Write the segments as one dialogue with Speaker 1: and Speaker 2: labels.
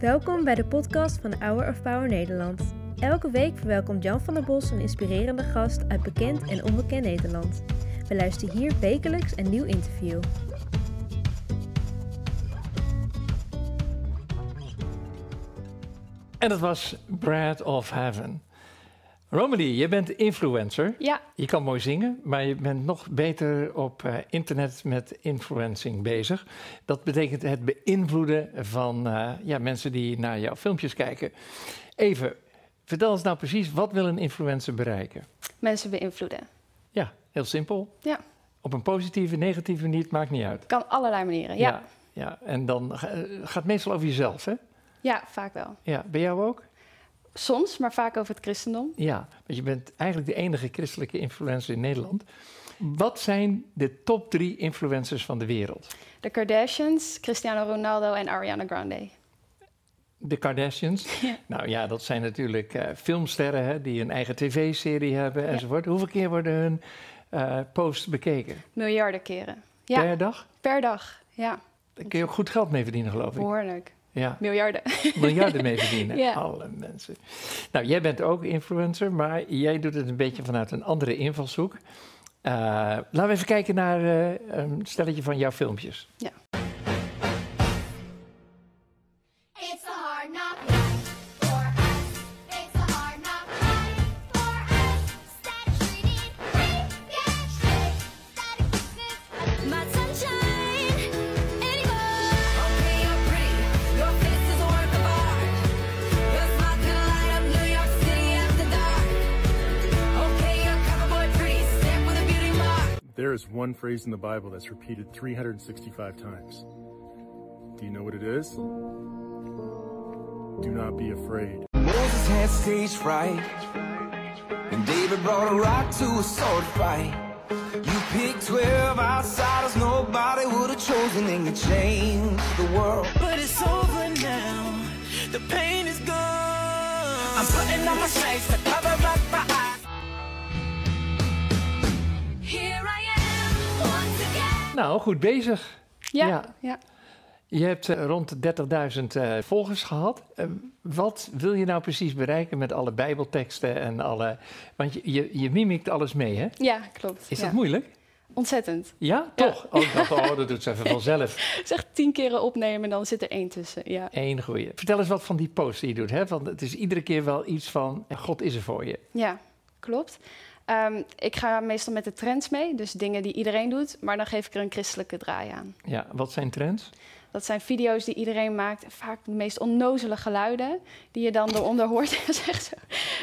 Speaker 1: Welkom bij de podcast van Hour of Power Nederland. Elke week verwelkomt Jan van der Bos een inspirerende gast uit bekend en onbekend Nederland. We luisteren hier wekelijks een nieuw interview.
Speaker 2: En dat was Brad of Heaven. Romilly, je bent influencer.
Speaker 3: Ja,
Speaker 2: Je kan mooi zingen, maar je bent nog beter op eh, internet met influencing bezig. Dat betekent het beïnvloeden van eh, ja, mensen die naar jouw filmpjes kijken. Even, vertel ons nou precies, wat wil een influencer bereiken?
Speaker 3: mensen beïnvloeden.
Speaker 2: Ja, heel simpel.
Speaker 3: Ja.
Speaker 2: Op een positieve, negatieve manier, het maakt niet uit.
Speaker 3: Kan allerlei manieren. Ja,
Speaker 2: ja, ja. en dan eh, gaat het meestal over jezelf, hè?
Speaker 3: ja vaak wel.
Speaker 2: Ja, bij jou ook?
Speaker 3: Soms, maar vaak over het christendom.
Speaker 2: Ja, want je bent eigenlijk de enige christelijke influencer in Nederland. Wat zijn de top drie influencers van de wereld?
Speaker 3: De Kardashians, Cristiano Ronaldo en Ariana Grande.
Speaker 2: De Kardashians.
Speaker 3: Ja.
Speaker 2: Nou ja, dat zijn natuurlijk eh, filmsterren hè, die een eigen tv-serie hebben enzovoort. Hoeveel keer worden hun eh, posts bekeken?
Speaker 3: Miljarden keren. Ja, per,
Speaker 2: Per dag?
Speaker 3: dag. Ja,
Speaker 2: Daar kun je ook goed geld mee verdienen, geloof ik.
Speaker 3: behoorlijk.
Speaker 2: Ja,
Speaker 3: Miljarden.
Speaker 2: miljarden mee verdienen.
Speaker 3: Ja.
Speaker 2: Alle mensen. Nou, jij bent ook influencer, maar jij doet het een beetje vanuit een andere invalshoek. Eh, laten we even kijken naar eh, een stelletje van jouw filmpjes.
Speaker 4: It's a hard knock life for us. It's a hard knock life for us. Static treated, we get tricked. Static business. My sunshine anymore.
Speaker 5: Okay, you're pretty. Your face is a work of art. Your smile can light up New York City after dark. Okay, you're coverboy pretty, sick with a beauty mark.
Speaker 6: There is one phrase in the Bible that's repeated 365 times. Do you know what it is? Do not be afraid.
Speaker 7: Moses had stage fright, and David brought a rock to a sword fight. You picked 12 outsiders nobody would have chosen, and you changed the world.
Speaker 8: but it's over now. The pain is gone. I'm putting on my face to cover up my eyes.
Speaker 4: Here I am once again.
Speaker 2: Nou, goed bezig.
Speaker 3: Ja,
Speaker 2: Ja.
Speaker 3: ja.
Speaker 2: Je hebt eh, rond de 30.000 eh, volgers gehad. Eh, wat wil je nou precies bereiken met alle bijbelteksten en alle... Want je, je, je mimikt alles mee, hè?
Speaker 3: Ja, klopt.
Speaker 2: Is
Speaker 3: ja.
Speaker 2: dat moeilijk?
Speaker 3: Ontzettend.
Speaker 2: Ja,
Speaker 3: Ja.
Speaker 2: toch? Oh, dat, oh, dat doet ze even vanzelf.
Speaker 3: Het is echt tien keren opnemen en dan zit er één tussen. Ja.
Speaker 2: Eén goeie. Vertel eens wat van die post die je doet, hè? Want het is iedere keer wel iets van... eh, God is er voor je.
Speaker 3: Ja, klopt. Ehm, ik ga meestal met de trends mee, dus dingen die iedereen doet, maar dan geef ik er een christelijke draai aan.
Speaker 2: Ja, wat zijn trends?
Speaker 3: Dat zijn video's die iedereen maakt, en vaak de meest onnozele geluiden, die je dan eronder hoort. Dat is echt zo.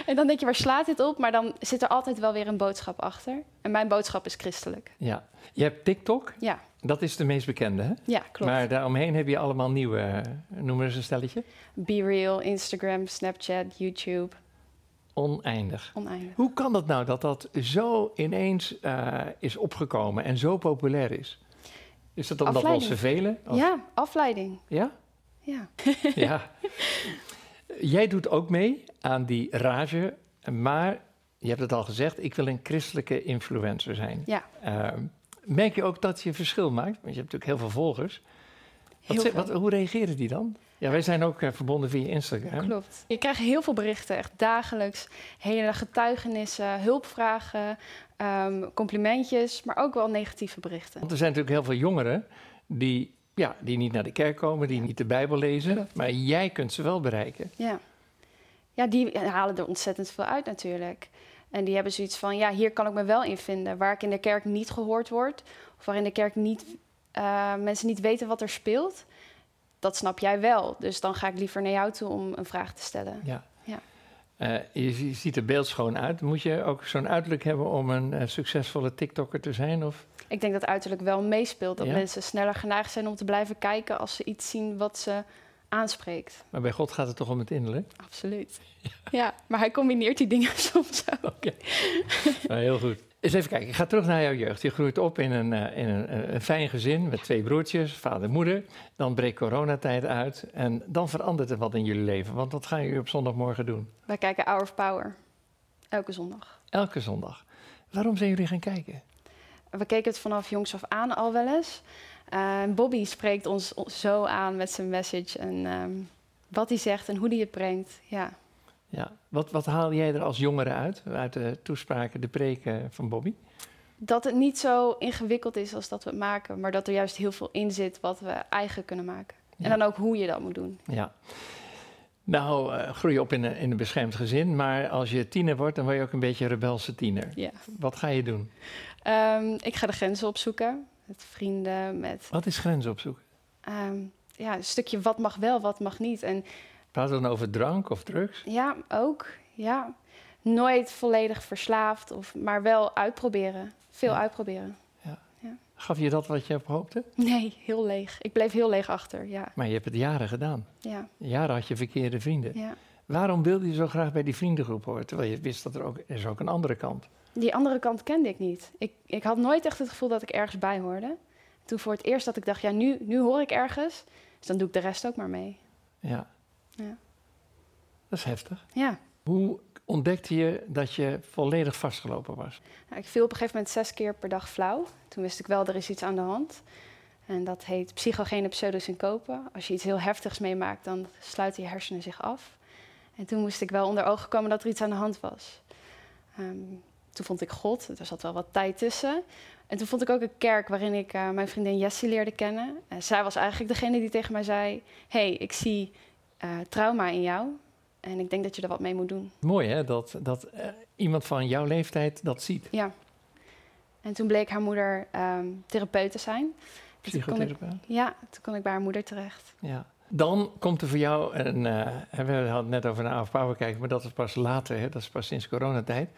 Speaker 3: en dan denk je, waar slaat dit op? Maar dan zit er altijd wel weer een boodschap achter. En mijn boodschap is christelijk.
Speaker 2: Ja. Je hebt TikTok.
Speaker 3: Ja,
Speaker 2: Dat is de meest bekende, hè?
Speaker 3: ja klopt.
Speaker 2: Maar daaromheen heb je allemaal nieuwe... eh, Noem eens een stelletje.
Speaker 3: Be real, Instagram, Snapchat, YouTube,
Speaker 2: Oneindig.
Speaker 3: oneindig.
Speaker 2: Hoe kan dat nou dat dat zo ineens eh, is opgekomen en zo populair is? Is dat omdat we ons
Speaker 3: Afleiding.
Speaker 2: vervelen? Of-
Speaker 3: Ja, afleiding.
Speaker 2: Ja?
Speaker 3: Ja.
Speaker 2: Ja. Jij doet ook mee aan die rage, maar je hebt het al gezegd, ik wil een christelijke influencer zijn.
Speaker 3: Ja.
Speaker 2: Ehm, merk je ook dat je verschil maakt? Want je hebt natuurlijk heel veel volgers. Wat
Speaker 3: Heel
Speaker 2: ze-
Speaker 3: veel.
Speaker 2: wat- hoe reageren die dan? Ja, wij zijn ook eh, verbonden via Instagram.
Speaker 3: Klopt. Je krijgt heel veel berichten, echt dagelijks. Hele getuigenissen, hulpvragen, ehm, complimentjes, maar ook wel negatieve berichten.
Speaker 2: Want er zijn natuurlijk heel veel jongeren die, ja, die niet naar de kerk komen, die niet de Bijbel lezen.
Speaker 3: Klopt.
Speaker 2: Maar jij kunt ze wel bereiken.
Speaker 3: Ja. ja, die halen er ontzettend veel uit natuurlijk. En die hebben zoiets van, ja, hier kan ik me wel in vinden. Waar ik in de kerk niet gehoord word, of waar in de kerk niet, eh, mensen niet weten wat er speelt, dat snap jij wel. Dus dan ga ik liever naar jou toe om een vraag te stellen.
Speaker 2: Ja.
Speaker 3: Ja.
Speaker 2: Eh, je, zie- ziet er beeldschoon uit. Moet je ook zo'n uiterlijk hebben om een eh, succesvolle TikToker te zijn? Of?
Speaker 3: Ik denk dat uiterlijk wel meespeelt, dat
Speaker 2: Ja.
Speaker 3: mensen sneller geneigd zijn om te blijven kijken als ze iets zien wat ze aanspreekt.
Speaker 2: Maar bij God gaat het toch om het innerlijk?
Speaker 3: Absoluut. Ja, maar hij combineert die dingen soms ook.
Speaker 2: Oké. Nou, heel goed. Eens even kijken. Ik ga terug naar jouw jeugd. Je groeit op in een, eh, in een, eh, een fijn gezin met twee broertjes, vader en moeder. Dan breekt coronatijd uit. En dan verandert er wat in jullie leven. Want wat gaan jullie op zondagmorgen doen?
Speaker 3: Wij kijken Hour of Power elke zondag.
Speaker 2: Elke zondag. Waarom zijn jullie gaan kijken?
Speaker 3: We keken het vanaf jongs af aan al wel eens. Eh, Bobby spreekt ons o- zo aan met zijn message. En ehm, Wat hij zegt en hoe hij het brengt. Ja.
Speaker 2: Ja. Wat, wat haal jij er als jongere uit, uit de toespraken, de preken van Bobby?
Speaker 3: Dat het niet zo ingewikkeld is als dat we het maken, maar dat er juist heel veel in zit wat we eigen kunnen maken.
Speaker 2: Ja.
Speaker 3: En dan ook hoe je dat moet doen.
Speaker 2: Ja. Nou, eh, groei je op in een, in een beschermd gezin, maar als je tiener wordt, dan word je ook een beetje een rebelse tiener.
Speaker 3: Ja.
Speaker 2: Wat ga je doen?
Speaker 3: Ehm, ik ga de grenzen opzoeken. Met vrienden, met
Speaker 2: Wat is grenzen opzoeken?
Speaker 3: ehm, ja, een stukje wat mag wel, wat mag niet. En
Speaker 2: Praat dan over drank of drugs?
Speaker 3: ja, ook. Ja. Nooit volledig verslaafd, of, maar wel uitproberen. Veel
Speaker 2: Ja.
Speaker 3: uitproberen.
Speaker 2: Gaf je dat wat je op hoopte?
Speaker 3: Nee, heel leeg. Ik bleef heel leeg achter. Ja,
Speaker 2: Maar je hebt het jaren gedaan.
Speaker 3: ja,
Speaker 2: Jaren had je verkeerde vrienden.
Speaker 3: ja.
Speaker 2: Waarom wilde je zo graag bij die vriendengroep horen? Terwijl je wist dat er ook, er is ook een andere kant.
Speaker 3: Die andere kant kende ik niet. Ik, ik had nooit echt het gevoel dat ik ergens bij hoorde. Toen voor het eerst dat ik dacht, ja, nu, nu hoor ik ergens. Dus dan doe ik de rest ook maar mee.
Speaker 2: Ja.
Speaker 3: Ja.
Speaker 2: Dat is heftig.
Speaker 3: Ja.
Speaker 2: Hoe ontdekte je dat je volledig vastgelopen was?
Speaker 3: Nou, ik viel op een gegeven moment zes keer per dag flauw. Toen wist ik wel, er is iets aan de hand. En dat heet psychogene pseudosyncope. Als je iets heel heftigs meemaakt, dan sluiten je hersenen zich af. En toen moest ik wel onder ogen komen dat er iets aan de hand was. Ehm, toen vond ik God, er zat wel wat tijd tussen. En toen vond ik ook een kerk waarin ik eh, mijn vriendin Jessie leerde kennen. En zij was eigenlijk degene die tegen mij zei... hey, ik zie eh, trauma in jou en ik denk dat je er wat mee moet doen.
Speaker 2: Mooi hè, dat, dat eh, iemand van jouw leeftijd dat ziet.
Speaker 3: Ja. En toen bleek haar moeder ehm therapeut te zijn. Dus toen kon ik-
Speaker 2: Psychotherapeut.
Speaker 3: ja, toen kon ik bij haar moeder terecht.
Speaker 2: Ja. Dan komt er voor jou een. eh, hè, we hadden het net over een of power kijken, maar dat is pas later, hè, dat is pas sinds coronatijd.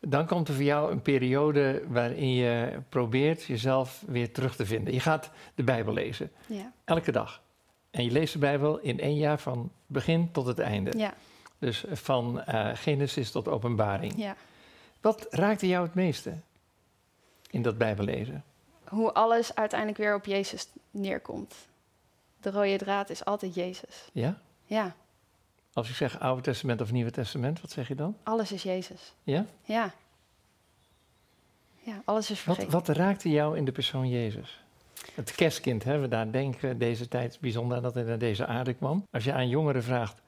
Speaker 2: Dan komt er voor jou een periode waarin je probeert jezelf weer terug te vinden. Je gaat de Bijbel lezen,
Speaker 3: Ja,
Speaker 2: elke dag. En je leest de Bijbel in één jaar van begin tot het einde.
Speaker 3: ja,
Speaker 2: Dus van eh, Genesis tot Openbaring.
Speaker 3: ja.
Speaker 2: Wat raakte jou het meeste in dat Bijbellezen?
Speaker 3: Hoe alles uiteindelijk weer op Jezus neerkomt. De rode draad is altijd Jezus.
Speaker 2: Ja?
Speaker 3: Ja,
Speaker 2: Als ik zeg Oude Testament of Nieuwe Testament, wat zeg je dan?
Speaker 3: alles is Jezus.
Speaker 2: Ja?
Speaker 3: Ja. Ja, alles is
Speaker 2: Wat,
Speaker 3: vergeten.
Speaker 2: wat raakte jou in de persoon Jezus? Het kerstkind, hè, we daar denken deze tijd is bijzonder aan dat hij naar deze aarde kwam. Als je aan jongeren vraagt,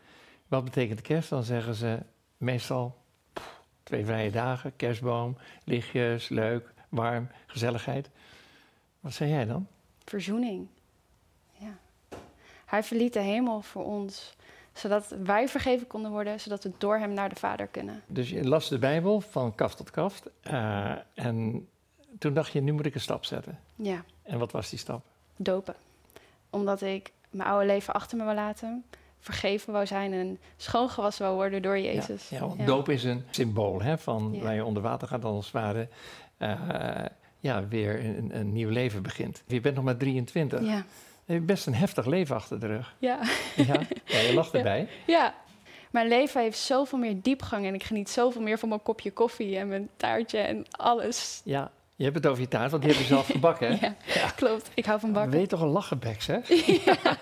Speaker 2: wat betekent kerst? Dan zeggen ze meestal pff, twee vrije dagen, kerstboom, lichtjes, leuk, warm, gezelligheid. Wat zei jij dan?
Speaker 3: Verzoening. Ja. Hij verliet de hemel voor ons, zodat wij vergeven konden worden, zodat we door hem naar de Vader kunnen.
Speaker 2: Dus je las de Bijbel van kaft tot kaft eh, en toen dacht je, nu moet ik een stap zetten.
Speaker 3: Ja.
Speaker 2: En wat was die stap?
Speaker 3: dopen. Omdat ik mijn oude leven achter me wil laten, vergeven wou zijn en schoongewassen wou worden door Jezus.
Speaker 2: Ja, ja, want doop is een symbool hè, van
Speaker 3: Ja.
Speaker 2: waar je onder water gaat als het ware. eh, ja, weer een, een nieuw leven begint. Je bent nog maar 23.
Speaker 3: Ja,
Speaker 2: Je hebt best een heftig leven achter de rug.
Speaker 3: ja,
Speaker 2: Ja, ja je lacht
Speaker 3: Ja.
Speaker 2: erbij.
Speaker 3: ja. Mijn leven heeft zoveel meer diepgang en ik geniet zoveel meer van mijn kopje koffie en mijn taartje en alles.
Speaker 2: Ja, je hebt het over je taart, want die heb je zelf gebakken. hè?
Speaker 3: Ja, klopt. Ik hou van bakken.
Speaker 2: Weet je toch een lachenbeks, hè?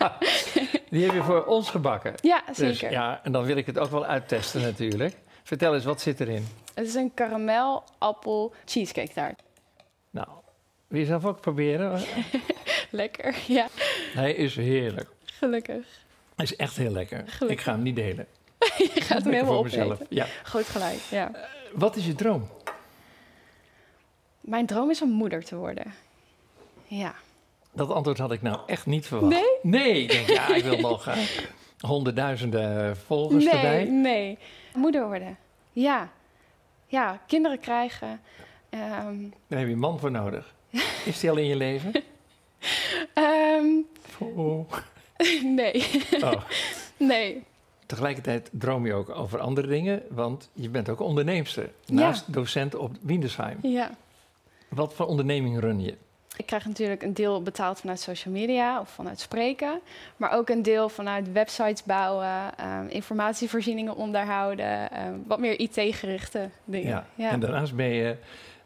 Speaker 2: die heb je voor ons gebakken.
Speaker 3: Ja, zeker.
Speaker 2: Dus ja, en dan wil ik het ook wel uittesten natuurlijk. Vertel eens, wat zit erin?
Speaker 3: Het is een karamel, appel, cheesecake taart.
Speaker 2: Nou, wil je zelf ook proberen?
Speaker 3: Lekker. Ja,
Speaker 2: Hij is heerlijk.
Speaker 3: gelukkig.
Speaker 2: Hij is echt heel lekker.
Speaker 3: Gelukkig.
Speaker 2: Ik ga hem niet delen.
Speaker 3: Je gaat hem
Speaker 2: Lekker
Speaker 3: helemaal
Speaker 2: voor
Speaker 3: opeten.
Speaker 2: mezelf. Ja.
Speaker 3: Goed gelijk, ja.
Speaker 2: Wat is je droom?
Speaker 3: Mijn droom is om moeder te worden. Ja.
Speaker 2: Dat antwoord had ik nou echt niet verwacht.
Speaker 3: Nee?
Speaker 2: Nee, ik denk, ja, ik wil nog eh, honderdduizenden volgers
Speaker 3: nee,
Speaker 2: erbij.
Speaker 3: Nee, moeder worden. Ja, ja kinderen krijgen. Ehm,
Speaker 2: Daar heb je een man voor nodig. Is die al in je leven?
Speaker 3: ehm,
Speaker 2: Oh.
Speaker 3: nee,
Speaker 2: Oh.
Speaker 3: nee.
Speaker 2: Tegelijkertijd droom je ook over andere dingen, want je bent ook onderneemster. Naast docent op Windesheim.
Speaker 3: Ja.
Speaker 2: Wat voor onderneming run je?
Speaker 3: Ik krijg natuurlijk een deel betaald vanuit social media of vanuit spreken. Maar ook een deel vanuit websites bouwen, ehm, informatievoorzieningen onderhouden. ehm, wat meer IT-gerichte dingen.
Speaker 2: Ja.
Speaker 3: ja.
Speaker 2: En daarnaast ben je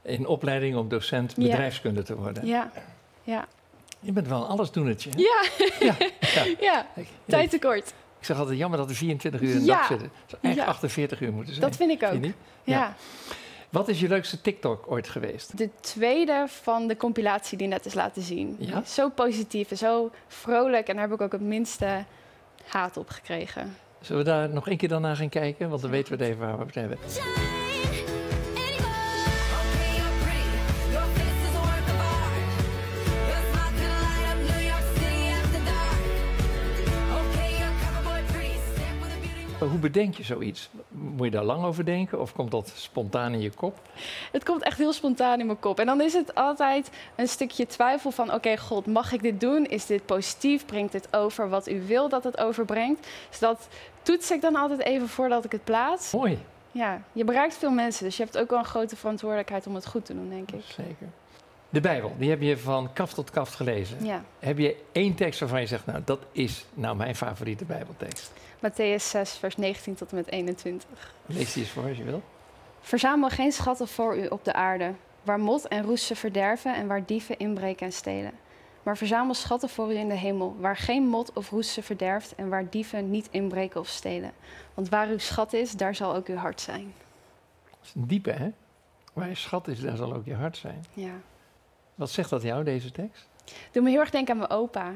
Speaker 2: in opleiding om docent
Speaker 3: Ja.
Speaker 2: bedrijfskunde te worden.
Speaker 3: ja. Ja.
Speaker 2: Je bent wel een allesdoenertje. hè?
Speaker 3: Ja.
Speaker 2: Ja.
Speaker 3: ja, tijd tekort.
Speaker 2: Ik zeg altijd jammer dat er 24 uur in de
Speaker 3: Ja.
Speaker 2: dag zitten. Het zou echt
Speaker 3: Ja.
Speaker 2: 48 uur moeten zijn.
Speaker 3: Dat vind ik ook.
Speaker 2: Vind je niet? Ja.
Speaker 3: ja.
Speaker 2: Wat is je leukste TikTok ooit geweest?
Speaker 3: De tweede van de compilatie die net is laten zien.
Speaker 2: Ja?
Speaker 3: Zo positief en zo vrolijk. En daar heb ik ook het minste haat op gekregen.
Speaker 2: Zullen we daar nog één keer dan naar gaan kijken? Want dan weten we het even waar we het hebben.
Speaker 5: Okay, you're pretty. Your face is worth the art. Your smile can light up New York City after dark. Okay, you're cover boy pretty. Step with a beauty
Speaker 2: Maar Hoe bedenk je zoiets? Moet je daar lang over denken of komt dat spontaan in je kop?
Speaker 3: Het komt echt heel spontaan in mijn kop. En dan is het altijd een stukje twijfel van... oké, god, mag ik dit doen? Is dit positief? Brengt dit over wat u wil dat het overbrengt? Dus dat toets ik dan altijd even voordat ik het plaats.
Speaker 2: Mooi,
Speaker 3: Ja, je bereikt veel mensen, dus je hebt ook wel een grote verantwoordelijkheid om het goed te doen, denk ik.
Speaker 2: zeker. De Bijbel, die heb je van kaft tot kaft gelezen.
Speaker 3: Ja,
Speaker 2: Heb je één tekst waarvan je zegt, nou dat is nou mijn favoriete Bijbeltekst?
Speaker 3: Matthäus 6, vers 19 tot en met 21.
Speaker 2: Lees die eens voor als je wil.
Speaker 3: Verzamel geen schatten voor u op de aarde, waar mot en roest ze verderven en waar dieven inbreken en stelen. Maar verzamel schatten voor u in de hemel, waar geen mot of roest ze verderft en waar dieven niet inbreken of stelen. Want waar uw schat is, daar zal ook uw hart zijn.
Speaker 2: Dat is een diepe, hè? Waar je schat is, daar zal ook je hart zijn.
Speaker 3: Ja.
Speaker 2: Wat zegt dat jou, deze tekst?
Speaker 3: Doe me heel erg denken aan mijn opa.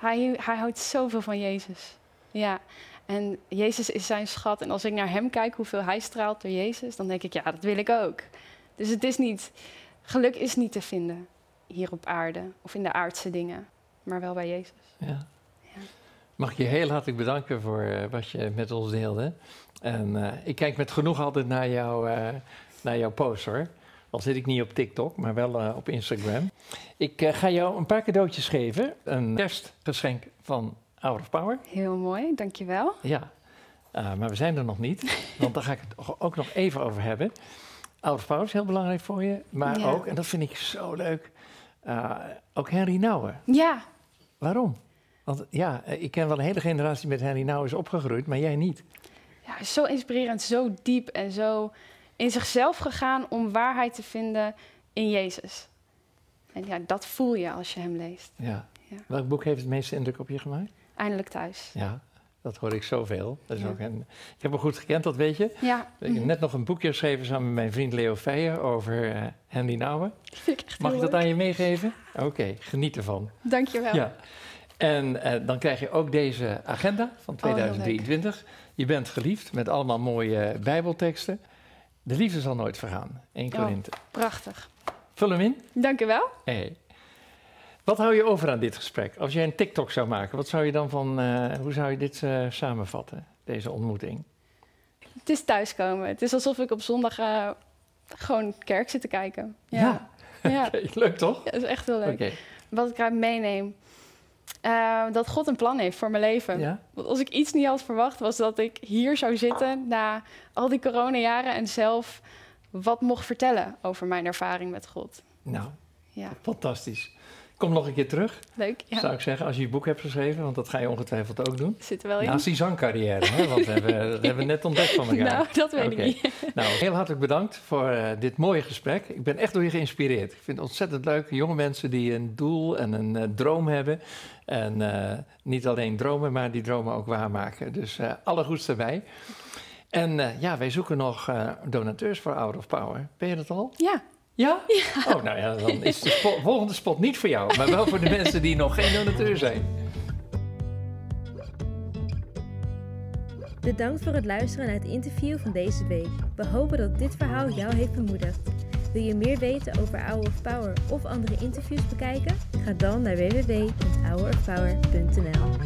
Speaker 3: Hij, hij houdt zoveel van Jezus. Ja, en Jezus is zijn schat. En als ik naar hem kijk, hoeveel hij straalt door Jezus, dan denk ik, ja, dat wil ik ook. Dus het is niet, geluk is niet te vinden hier op aarde of in de aardse dingen, maar wel bij Jezus.
Speaker 2: Ja. Mag ik je heel hartelijk bedanken voor eh, wat je met ons deelde. En eh, ik kijk met genoeg altijd naar, jou, eh, naar jouw post hoor. Al zit ik niet op TikTok, maar wel eh, op Instagram. Ik eh, ga jou een paar cadeautjes geven. Een kerstgeschenk van Hour of Power.
Speaker 3: Heel mooi, dankjewel.
Speaker 2: Ja, Eh, maar we zijn er nog niet. Want daar ga ik het ook nog even over hebben. Hour of Power is heel belangrijk voor je. Maar
Speaker 3: Ja.
Speaker 2: ook, en dat vind ik zo leuk, eh, ook Henry Nouwen.
Speaker 3: Ja,
Speaker 2: Waarom? Want ja, eh, ik ken wel een hele generatie met Henry Nou is opgegroeid, maar jij niet.
Speaker 3: ja, zo inspirerend, zo diep en zo in zichzelf gegaan om waarheid te vinden in Jezus. En ja, dat voel je als je hem leest.
Speaker 2: Ja.
Speaker 3: Ja.
Speaker 2: Welk boek heeft het meeste indruk op je gemaakt?
Speaker 3: Eindelijk thuis.
Speaker 2: Ja, dat hoor ik zoveel. Dat is
Speaker 3: Ja.
Speaker 2: ook een, ik heb hem goed gekend, dat weet je.
Speaker 3: Ja,
Speaker 2: Ik heb net nog een boekje geschreven samen met mijn vriend Leo Feijer over eh Henry Nouwen.
Speaker 3: vind ik echt
Speaker 2: Mag
Speaker 3: heel
Speaker 2: ik dat
Speaker 3: leuk.
Speaker 2: aan je meegeven? Oké, geniet ervan.
Speaker 3: Dankjewel.
Speaker 2: Ja. En eh, dan krijg je ook deze agenda van
Speaker 3: Oh, heel leuk.
Speaker 2: 2023. je bent geliefd met allemaal mooie bijbelteksten. De liefde zal nooit vergaan. 1
Speaker 3: Oh.
Speaker 2: Korinthe.
Speaker 3: Prachtig.
Speaker 2: Vul hem in.
Speaker 3: Dank u wel.
Speaker 2: Hey. Wat hou je over aan dit gesprek? Als jij een TikTok zou maken, wat zou je dan van, eh, hoe zou je dit eh, samenvatten, deze ontmoeting?
Speaker 3: Het is thuiskomen. Het is alsof ik op zondag eh, gewoon kerk zit te kijken. Ja. Ja. Ja,
Speaker 2: Oké, leuk toch?
Speaker 3: dat is echt heel leuk.
Speaker 2: Oké,
Speaker 3: Wat ik eruit meeneem. eh, dat God een plan heeft voor mijn leven.
Speaker 2: ja.
Speaker 3: Want als ik iets niet had verwacht, was dat ik hier zou zitten na al die coronajaren en zelf wat mocht vertellen over mijn ervaring met God.
Speaker 2: Nou,
Speaker 3: Ja,
Speaker 2: fantastisch. Kom nog een keer terug,
Speaker 3: leuk. Ja,
Speaker 2: zou ik zeggen, als je je boek hebt geschreven, want dat ga je ongetwijfeld ook doen.
Speaker 3: zit er wel in.
Speaker 2: Naast die zangcarrière, hè, want we hebben, dat hebben we net ontdekt van elkaar.
Speaker 3: nou, dat weet
Speaker 2: Oké.
Speaker 3: ik niet.
Speaker 2: Nou, heel hartelijk bedankt voor eh, dit mooie gesprek. Ik ben echt door je geïnspireerd. Ik vind het ontzettend leuk. Jonge mensen die een doel en een eh, droom hebben. En eh, niet alleen dromen, maar die dromen ook waarmaken. Dus eh, alle goeds daarbij. En eh, ja, wij zoeken nog eh, donateurs voor Out of Power. Ben je dat al?
Speaker 3: Ja,
Speaker 2: Ja? Oh, nou ja, dan is de spo- volgende spot niet voor jou. Maar wel voor de mensen die nog geen donateur zijn.
Speaker 1: Bedankt voor het luisteren naar het interview van deze week. We hopen dat dit verhaal jou heeft bemoedigd. Wil je meer weten over Hour of Power of andere interviews bekijken? Ga dan naar www.hourofpower.nl